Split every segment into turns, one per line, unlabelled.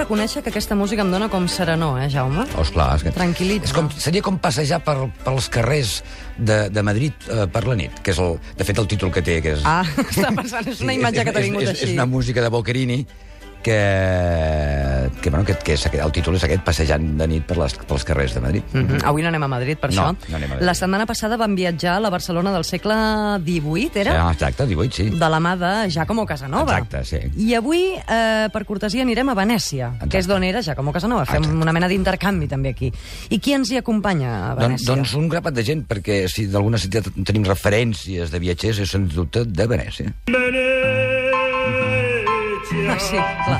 reconèixer que aquesta música em dona com serenor, eh, Jaume?
Oh, esclar, és que...
Tranquil·litza.
És com, seria com passejar per, pels carrers de, de Madrid eh, per la nit, que és, el, de fet, el títol que té, que és...
Ah, està passant, és una
Sí,
imatge
és-
que t'ha
és-
vingut
és,
així.
És una música de Boquerini que, que, bueno, que, que és, aquest- el títol és aquest, passejant de nit per les, pels carrers de Madrid.
Mm -hmm. Avui no anem a Madrid, per
No,
això.
no anem a Madrid.
La setmana passada vam viatjar a la Barcelona del segle XVIII, era?
Ah, exacte, 18, sí.
de la mà de Giacomo Casanova.
Exacte, sí.
I avui, eh, per cortesia, anirem a Venècia, Exacte. que és d'on era Giacomo Casanova. Fem
Exacte.
una mena d'intercanvi, també, aquí. I qui ens hi acompanya a
Doncs,
Venècia?
doncs un grapat de gent, perquè si d'alguna ciutat tenim referències de viatgers, és sens dubte de Venècia.
Ah, sí, clar.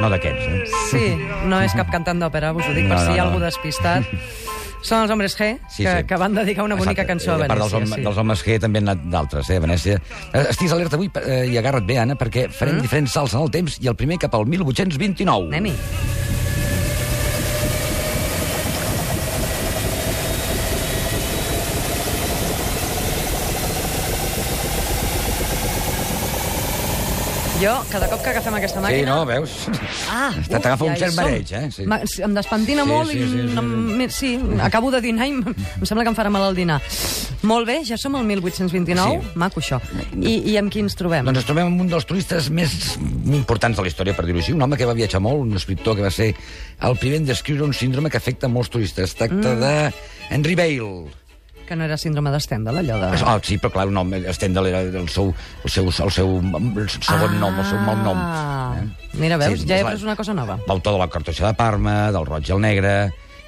No d'aquests, eh?
Sí, no és cap cantant d'òpera, us ho dic, per
No,
si
no,
hi ha algú
no.
despistat. Són els Hombres G,
Sí,
que,
sí.
que van dedicar una bonica
Exacte.
cançó a
I part dels,
Venècia.
hom- dels homes que també han anat d'altres, eh, a Venècia. Eh, Estigues alerta avui eh, i agarra't bé, Anna, perquè farem mm. diferents salts en el temps i el primer cap al 1829.
Anem-hi. Jo, cada cop que agafem aquesta
Sí,
màquina...
no, veus? Doncs
Ah,
Està- T'agafa
ui,
un
ja hi
cert
som.
mareig, eh? Sí.
Ma- sí, Em despentina
Sí,
molt
sí,
i
sí, sí,
em- em- sí, acabo de dinar i em em sembla que em farà mal el dinar. Molt bé, ja som al 1829.
Sí.
Maco, això. I, I amb qui ens trobem?
Doncs ens trobem amb un dels turistes més importants de la història, per dir-ho així. Un home que va viatjar molt, un escriptor que va ser el primer en descriure un síndrome que afecta molts turistes. Es tracta mm. de Henry Bale.
Que no era síndrome d'Stendhal, allò de...
Ah, sí, però clar, un nom, Stendhal era el seu, el seu, el seu segon nom, el seu malnom.
Eh? Mira, veus, ja he
és la-
après una cosa nova.
L'autor de la cartoixa de Parma, del roig i el negre,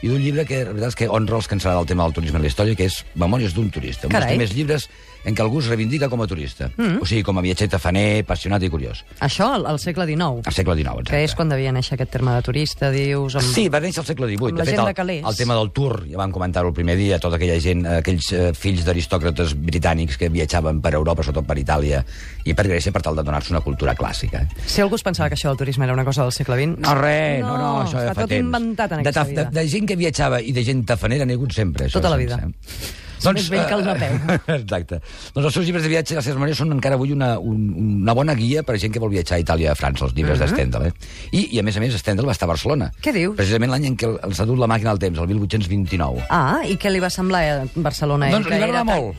i d'un llibre que, la veritat, és que honra els que en serà del tema del turisme i la història, que és Memòries d'un turista. Un dels
Carai. Mm.
primers llibres en què algú es reivindica com a turista. O sigui, com a viatger tafaner, apassionat i curiós.
Això al, al segle XIX,
Al segle XIX, exacte.
que és quan devia néixer aquest terme de turista, dius... Amb...
Sí, va néixer al segle XVIII.
amb la gent de
el,
Calés.
el tema del tour, ja van comentar-ho el primer dia, tota aquella gent, eh, aquells eh, fills d'aristòcrates britànics que viatjaven per Europa, sobretot per Itàlia i per Grècia, per tal de donar-se una cultura clàssica.
Si algú es pensava que això del turisme era una cosa del segle XX...
No, res, no, no, això
està
ja fa
tot
temps.
inventat en
de,
aquesta
taf-
vida.
de, de, gent que viatjava i de gent tafanera n'hi ha hagut sempre. Això,
Tota la
sense-
vida. més vell que el Napeu.
eh, Exacte. Doncs els seus llibres de viatge, les seves maneres, són encara avui una, un, una bona guia per a gent que vol viatjar a Itàlia i a França, els llibres d'Stendhal. Eh? I, I, a més a més, Stendhal va estar a Barcelona.
Mhm. Què dius?
Precisament l'any en què el- els ha dut la màquina del temps, el 1829.
Ah, i què li va semblar a Barcelona?
Doncs
ell,
li
que
va
era
agradar
tan,
molt.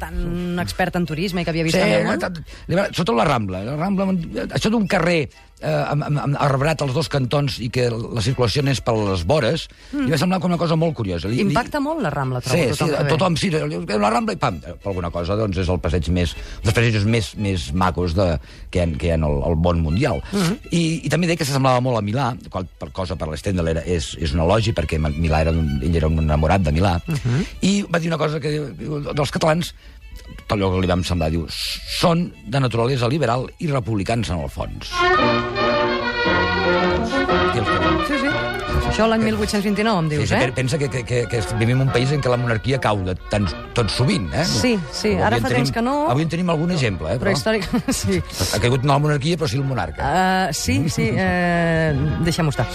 tan expert en turisme i que havia
Sí,
vist també el món?
tant- li va- sobretot la Rambla. La Rambla eh, això d'un carrer eh, amb, amb, amb arbrat als dos cantons i que la circulació n'és per les vores, mm. li va semblar com una cosa molt curiosa. Li, li-
Impacta molt la Rambla, trobo,
Sí,
tothom
sí,
que ve.
tothom, sí, la Rambla i pam, per alguna cosa, doncs és el passeig més, un dels passejos més, més macos de, que hi ha, que hi ha al, al món mundial. Mm -hmm. I, I també deia que s'assemblava molt a Milà, qual, per cosa per l'Stendhal era, és, és un elogi, perquè Ma- Milà era un, ell era un enamorat de Milà, mm -hmm. i va dir una cosa que diu, diu, dels catalans, tot allò que li vam semblar, diu, són de naturalesa liberal i republicans en el fons. I els que-
Sí, sí. Això l'any 1829, em
Sí,
dius,
sí,
eh?
pe- Pensa que, que, que, que vivim en un país en què la monarquia cau de tan, tot sovint, eh?
Sí, sí,
Avui
ara
en
fa
tenim,
temps que no.
Avui en tenim algun exemple, eh?
Però històric... Sí.
Ha caigut no la monarquia, però sí el monarca.
Uh, sí, sí, uh, deixem-ho estar.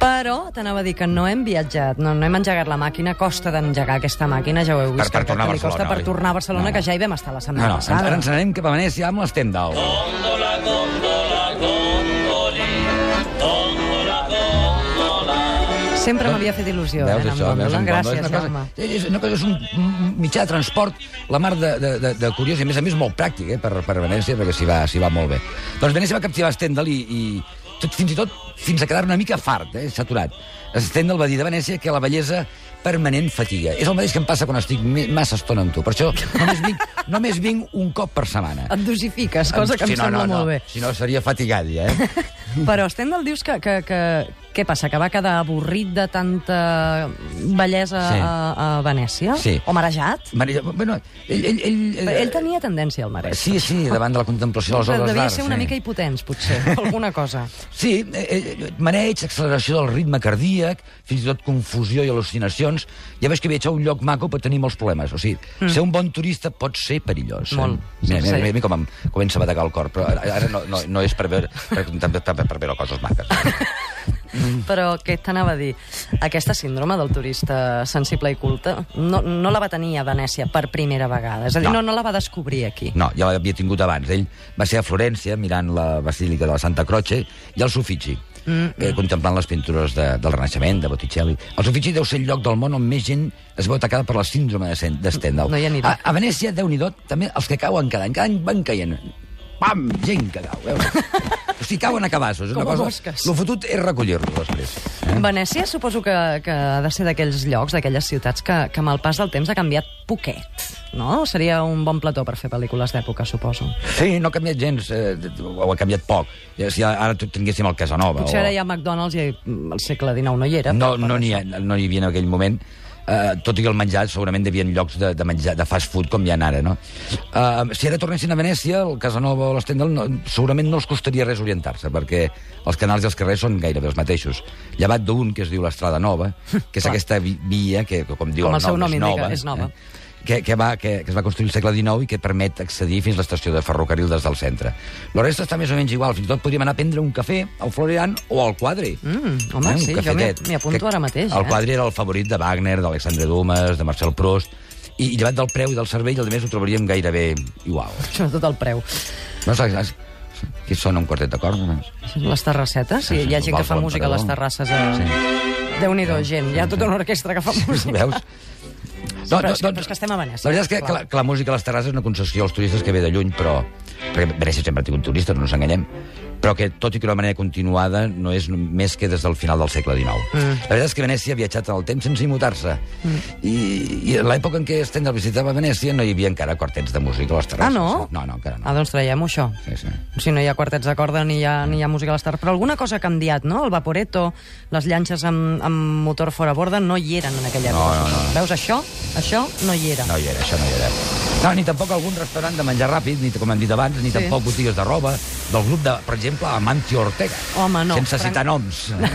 Però t'anava a dir que no hem viatjat, no, no hem engegat la màquina, costa d'engegar aquesta màquina, ja ho heu
Per-
vist.
per
que- que
tornar a
li Costa
Barcelona,
per
oi?
tornar a Barcelona,
No, no.
que ja hi vam estar la
No,
setmana
no, ens,
passada.
ara ens n'anem cap a Venècia amb l'Stendhal.
Sempre m'havia fet il·lusió, eh,
Veus
anar amb
això?
gòndola.
Veus en
Gràcies,
Gondola? És una
Jaume.
cosa- És, una cosa, és un un mitjà de transport, la mar de, de, de, de curiós, i a més a més molt pràctic, eh, per, per Venècia, perquè s'hi va, s'hi va molt bé. Doncs Venècia va captivar Stendhal i, i tot, fins i tot fins a quedar una mica fart, eh, saturat. Stendhal va dir de Venècia que la bellesa permanent fatiga. És el mateix que em passa quan estic me- massa estona amb tu. Per això només vinc, només vinc un cop per setmana.
Et dosifiques, cosa que em
Si no,
sembla
no, no.
molt bé.
Si no, seria fatigat, ja, eh?
Però Stendhal dius que, que, que... Què passa, que va quedar avorrit de tanta bellesa
Sí.
a, a Venècia?
Sí.
O marejat?
Maria, bueno, ell, ell, ell,
Però ell tenia tendència al mareig.
Sí, sí, davant de la contemplació de les obres d'art.
Devia ser una
sí.
mica hipotens, potser, alguna cosa.
Sí, eh, eh, maneig, acceleració del ritme cardíac, fins i tot confusió i al·lucinacions. Ja veus que viatjar a un lloc maco pot tenir molts problemes. O sigui, mm. ser un bon turista pot ser perillós. eh?
Molt.
Mira,
Sí.
mira, mira, mira com em comença a bategar el cor, però ara, ara no, no, no és per veure, per, per, per, per veure coses maques.
però què t'anava a dir? Aquesta síndrome del turista sensible i culte no, no la va tenir a Venècia per primera vegada. És a dir,
No.
no, no, la va descobrir aquí.
No, ja l'havia tingut abans. Ell va ser a Florència mirant la Basílica de la Santa Croce i el Suffici,
Mm-hmm.
mm, eh, contemplant les pintures de, del Renaixement, de Botticelli. El Suffici deu ser el lloc del món on més gent es veu atacada per la síndrome de Sen- de Stendhal.
No hi aniré.
a, a Venècia, déu nhi també els que cauen cada any. Cada any van caient. Pam! Gent que cau. Eh? o sigui, cauen a cabassos.
Com a
una cosa...
mosques.
Lo fotut és recollir-lo després.
Venècia suposo que, que ha de ser d'aquells llocs, d'aquelles ciutats que, que amb el pas del temps ha canviat poquet, no? Seria un bon plató per fer pel·lícules d'època, suposo.
Sí, no ha canviat gens, eh, o ha canviat poc. Eh, Si ara tu tinguéssim el Casanova...
Potser
o...
ara hi ha McDonald's i mm, al segle XIX no hi era.
No,
però-
no n'hi ha- no n'hi havia en aquell moment. Uh, tot i que el menjar segurament devien llocs de, de menjar de fast food com hi ha ara, no? Uh, si ara tornessin a Venècia, el Casanova o l'Estendal, no, segurament no els costaria res orientar-se, perquè els canals i els carrers són gairebé els mateixos. Llevat d'un que es diu l'Estrada Nova, que és
Clar.
aquesta vi- via que, que, com diu
Com el
el,
seu nom
és
indica,
nova,
és nova.
Eh? Que, que, va, que, que es va construir al segle XIX i que permet accedir fins a l'estació de ferrocarril des del centre. La resta està més o menys igual. Fins i tot podríem anar a prendre un cafè al Florian o al Quadri.
Mm, home,
un
sí, jo m'hi-
cafetet.
m'hi apunto
Que-
ara mateix,
El
eh?
quadre era el favorit de Wagner, d'Alexandre Dumas, de Marcel Proust, i, i llevat del preu i del cervell, el de més ho trobaríem gairebé igual.
Sobretot el preu.
No saps, saps qui sona un quartet de corda, només?
Les terrassetes? Sí,
Sí, sí,
hi ha gent
el
que fa
balcó
música a les
emperador.
terrasses. A... Sí. Déu-n'hi-do, gent. Hi ha tota una orquestra que fa música.
Veus?
No, però, és que, però és que estem a Venècia.
La veritat és que, que,
clar.
la, que la música a les terrasses és una concessió als turistes que ve de lluny, però... Perquè Venècia sempre ha tingut turistes, no ens enganyem. Però que, tot i que d'una manera continuada, no és més que des del final del segle XIX. Mm. La veritat és que Venècia ha viatjat en el temps sense immutar-se. Mm. I, I en l'època en què Stendhal visitava Venècia no hi havia encara quartets de música a les terrasses.
Ah, no?
No, no, encara no.
Ah, doncs traiem això.
Sí, sí.
Si no hi ha quartets de corda ni hi ha, ni hi ha música a les terrasses. Però alguna cosa ha canviat, no? El Vaporetto, les llanxes amb, amb motor fora borda no hi eren en aquella època.
no, no.
Veus, això? Això no hi era.
No hi era, això no hi era. No, ni tampoc algun restaurant de menjar ràpid, ni com hem dit abans, ni
Sí.
sí. tampoc botigues de roba, del grup de, per exemple, Amantio Ortega.
Home, no,
Sense
Frank-
citar noms. Eh?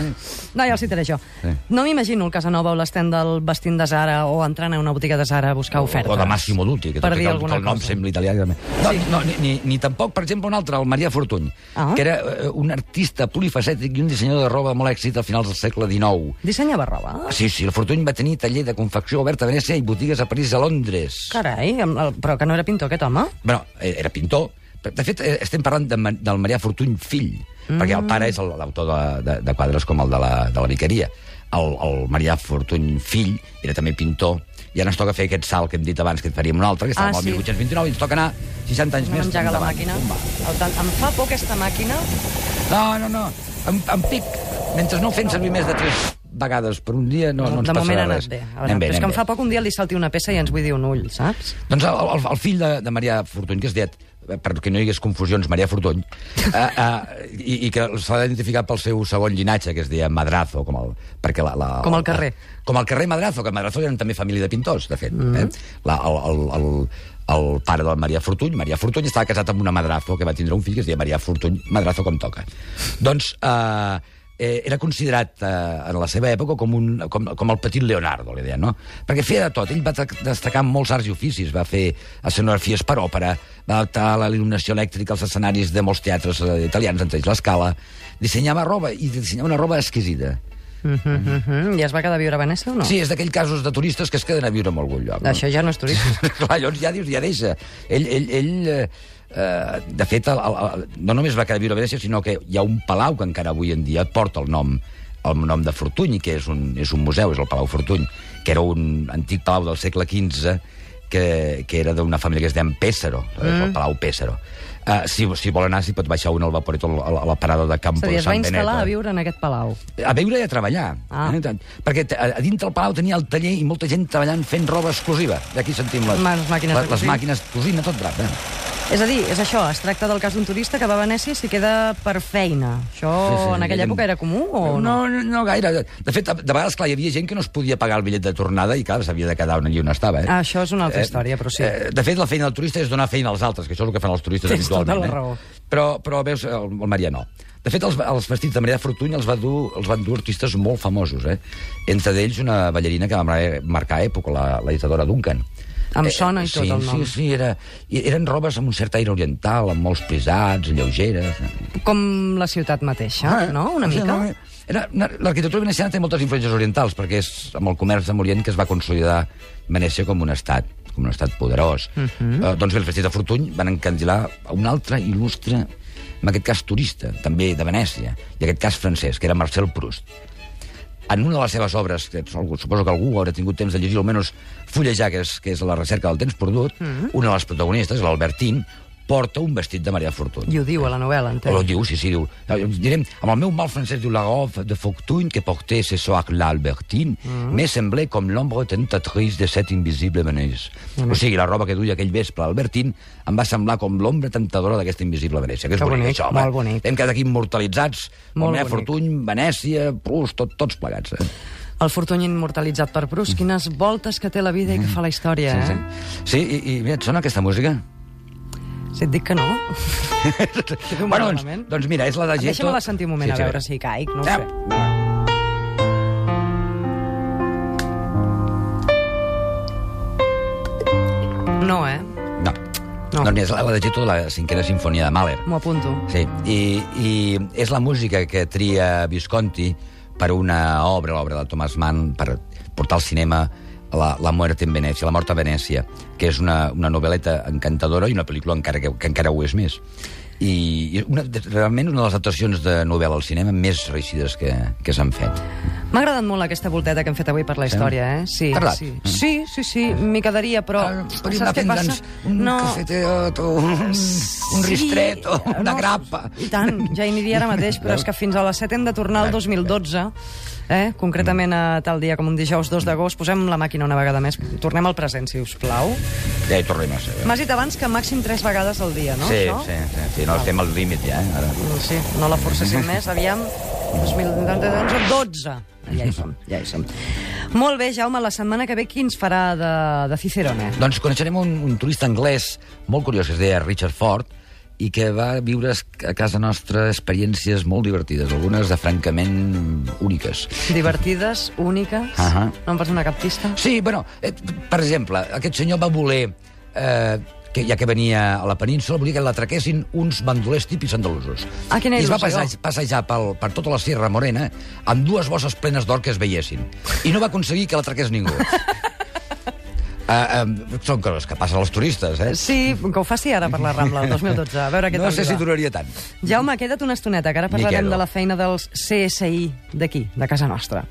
No, ja els citaré jo.
Sí.
No m'imagino el Casanova o l'estend del vestint de Zara o entrant a una botiga de Zara a buscar ofertes.
O de Massimo Dutti, que,
per
tot i
dir
que, el, que
alguna
el nom
cosa.
sembla italià. també. No, no, ni, ni, ni tampoc, per exemple, un altre, el Maria Fortuny,
Ah.
que era eh, un artista polifacètic i un dissenyador de roba molt èxit a finals del segle XIX.
Dissenyava roba?
Sí, sí, el Fortuny va tenir taller de confecció obert a Venècia i botigues a París i a Londres.
Carai, amb el, però que no era pintor aquest home?
Bueno, eh, era pintor. Però, De fet, eh, estem parlant de, Ma- del Marià Fortuny fill, mm. perquè el pare és el- l'autor de, de, de quadres com el de la, de la Vicaria. El, el Marià Fortuny fill era també pintor, i ara ens toca fer aquest salt que hem dit abans, que en faríem un altre, que estàvem
Ah,
al
sí.
1829, i ens toca anar 60 anys
No
més.
m'engega la
endavant.
màquina.
Pumba.
El tant, em fa por aquesta màquina.
No, no, no, en, en pic. Mentre no ho fem servir més de tres vegades per un dia, no, no ens
de moment
passarà
ha anat
res.
bé. A
Anem
veure, però és
anem
que em fa poc un dia li salti una peça i ens vull dir un ull, saps?
Doncs el, el, el fill de, de Maria Fortuny, que es deia eh, perquè no hi hagués confusions, Maria Fortuny, eh, eh, i, i que s'ha identificat pel seu segon llinatge, que es deia Madrazo, com el, perquè la, la,
Com el carrer.
com el carrer Madrazo, que Madrazo eren també família de pintors, de fet. Mm. Eh? La, el, el, el, el pare de la Maria Fortuny, Maria Fortuny, estava casat amb una Madrazo, que va tindre un fill que es deia Maria Fortuny, Madrazo com toca. Doncs... Eh, eh, era considerat eh, en la seva època com, un, com, com el petit Leonardo, li deien, no? Perquè feia de tot. Ell va tra- destacar en molts arts i oficis. Va fer escenografies per òpera, va adaptar la il·luminació elèctrica als escenaris de molts teatres eh, italians, entre ells l'Escala. Dissenyava roba, i dissenyava una roba exquisita.
Mhm, mhm. I es va quedar a viure a Venècia o no?
Sí, és d'aquells casos de turistes que es queden a viure en algun lloc. no?
Ah. Això ja no és turisme.
Clar, llavors ja dius, ja deixa. Ell, ell, ell eh, eh, de fet, el, el, el, no només va quedar a viure a Venècia, sinó que hi ha un palau que encara avui en dia porta el nom el nom de Fortuny, que és un, és un museu, és el Palau Fortuny, que era un antic palau del segle XV que, que era d'una família que es deia Pésaro, mm. el Palau Pésaro. Uh, si, si vol anar, s'hi pot baixar un al vaporet a la, a la parada de Campo
És a dir,
de
es va
Sant
instal·lar
Benet.
a viure en aquest palau.
A veure i a treballar.
Ah.
Ah. Eh? Perquè t- a a dintre el palau tenia el taller i molta gent treballant fent roba exclusiva. D'aquí sentim les,
Ma- les màquines de
les, les
cosir.
màquines cosint a tot drap. Eh?
És a dir, és això, es tracta del cas d'un turista que va a Venècia i s'hi queda per feina. Això en aquella època era comú o no?
no? No, no gaire. De fet, de vegades, clar, hi havia gent que no es podia pagar el bitllet de tornada i, clar, s'havia de quedar on allí on estava. Eh?
Ah, això és una altra història, però sí.
Eh, de fet, la feina del turista és donar feina als altres, que això és el que fan els turistes
Tens tota
habitualment.
la raó.
Eh? Però, però veus, el, el Maria no. De fet, els, els vestits de Maria Fortuny els, va dur, els van dur artistes molt famosos, eh? Entre d'ells una ballarina que va mar- marcar època, la, la Isadora Duncan.
Em
Eh,
sona i tot
sí,
el nom.
Sí, sí, era, i- eren robes amb un cert aire oriental, amb molts prisats, lleugeres... eh?
Com la ciutat mateixa, no? Una
Ah, Sí,
mica.
no, eh, Era una- L'arquitectura veneciana té moltes influències orientals, perquè és amb el comerç amb Orient que es va consolidar Venècia com un estat, com un estat poderós.
Mhm.
Uh -huh. eh, doncs bé, els festins de Fortuny van encandilar a un altre il·lustre, en aquest cas turista, també de Venècia, i en aquest cas francès, que era Marcel Proust en una de les seves obres, que algú- suposo que algú haurà tingut temps de llegir, o almenys fullejar, que és, que és la recerca del temps perdut, mm
Mhm.
-hmm. una de les protagonistes, l'Albertín, porta un vestit de Maria Fortuny.
I ho diu a la novel·la, entenc.
Ho diu, sí, sí, diu. eh, Direm, amb el meu mal francès diu la robe de Fortuny que portait ce soir l'Albertine mm. me semblait com l'ombre tentatrice de cette invisible menace. Mm. O sigui, la roba que duia aquell vespre l'Albertine em va semblar com l'ombra tentadora d'aquesta invisible Venècia. Que és
Que
bonic,
bonic,
això,
molt bonic.
Hem quedat aquí immortalitzats,
Molt
molt Maria
bonic.
Fortuny, Venècia, Proust, tot, tots plegats. Eh?
El Fortuny immortalitzat per Proust, quines voltes que té la vida i que fa la història,
Mm. Sí,
eh?
sí. sí i, i mira, et sona aquesta música?
Si et dic que no,
bueno, doncs,
malament.
doncs mira, és la de Geto...
deixa'm-la sentir un moment a veure si caic, no ho
Yep.
sé. No, eh?
No.
No.
no. Doncs és la de Geto de la cinquena sinfonia de Mahler.
M'ho apunto.
Sí, i, i és la música que tria Visconti per una obra, l'obra de Thomas Mann, per portar al cinema la, la Muerte en Venècia, La mort a Venècia, que és una, una novel·leta encantadora i una pel·lícula encara que, que encara ho és més. I i una, realment una de les adaptacions de novel·la al cinema més reeixides que, que s'han fet.
M'ha agradat molt aquesta volteta que hem fet avui per la història, eh? Sí,
T'ha agradat? Ah,
sí. Sí, sí, sí, m'hi quedaria, però... saps què passa?
doncs Un
No,
cafetet, un, un
sí, Ah,
ristret, una
no,
grappa...
I tant, ja hi aniria ara mateix, però és que fins a les 7 hem de tornar al 2012, eh? concretament a tal dia com un dijous 2 d'agost. Posem la màquina una vegada més. Tornem al present, si us plau.
Ja hi tornem a ser.
M'has dit abans que màxim 3 vegades al dia, no?
sí,
això?
sí, sí, sí, no, estem al límit ja, eh, ara.
Sí, no la forcéssim més, aviam. 2011, 12. doncs, Ja hi som, ja hi som. Molt bé, Jaume, la setmana que ve qui ens farà de, de Cicerone?
Doncs coneixerem un, un turista anglès molt curiós que es deia Richard Ford i que va viure es- a casa nostra experiències molt divertides, algunes de francament úniques.
Divertides, úniques, uh
Ahà.
-huh. no em pots donar cap pista?
Sí, bueno, eh, per exemple, aquest senyor va voler, eh, que, ja que venia a la península, volia que l'atraquessin uns bandolers típics andalusos.
Ah, quina
I es va
il·lusió.
passejar, passejar pel, per tota la Sierra Morena amb dues bosses plenes d'or que es veiessin. I no va aconseguir que l'atraqués ningú. Uh, um, són coses que passen als turistes, eh?
Sí, que ho faci ara per la Rambla, el 2012. A veure què
No
tal
sé
li
si
va.
duraria tant.
Jaume, queda't una estoneta, que ara parlarem
Miquel.
de la feina dels CSI d'aquí, de casa nostra.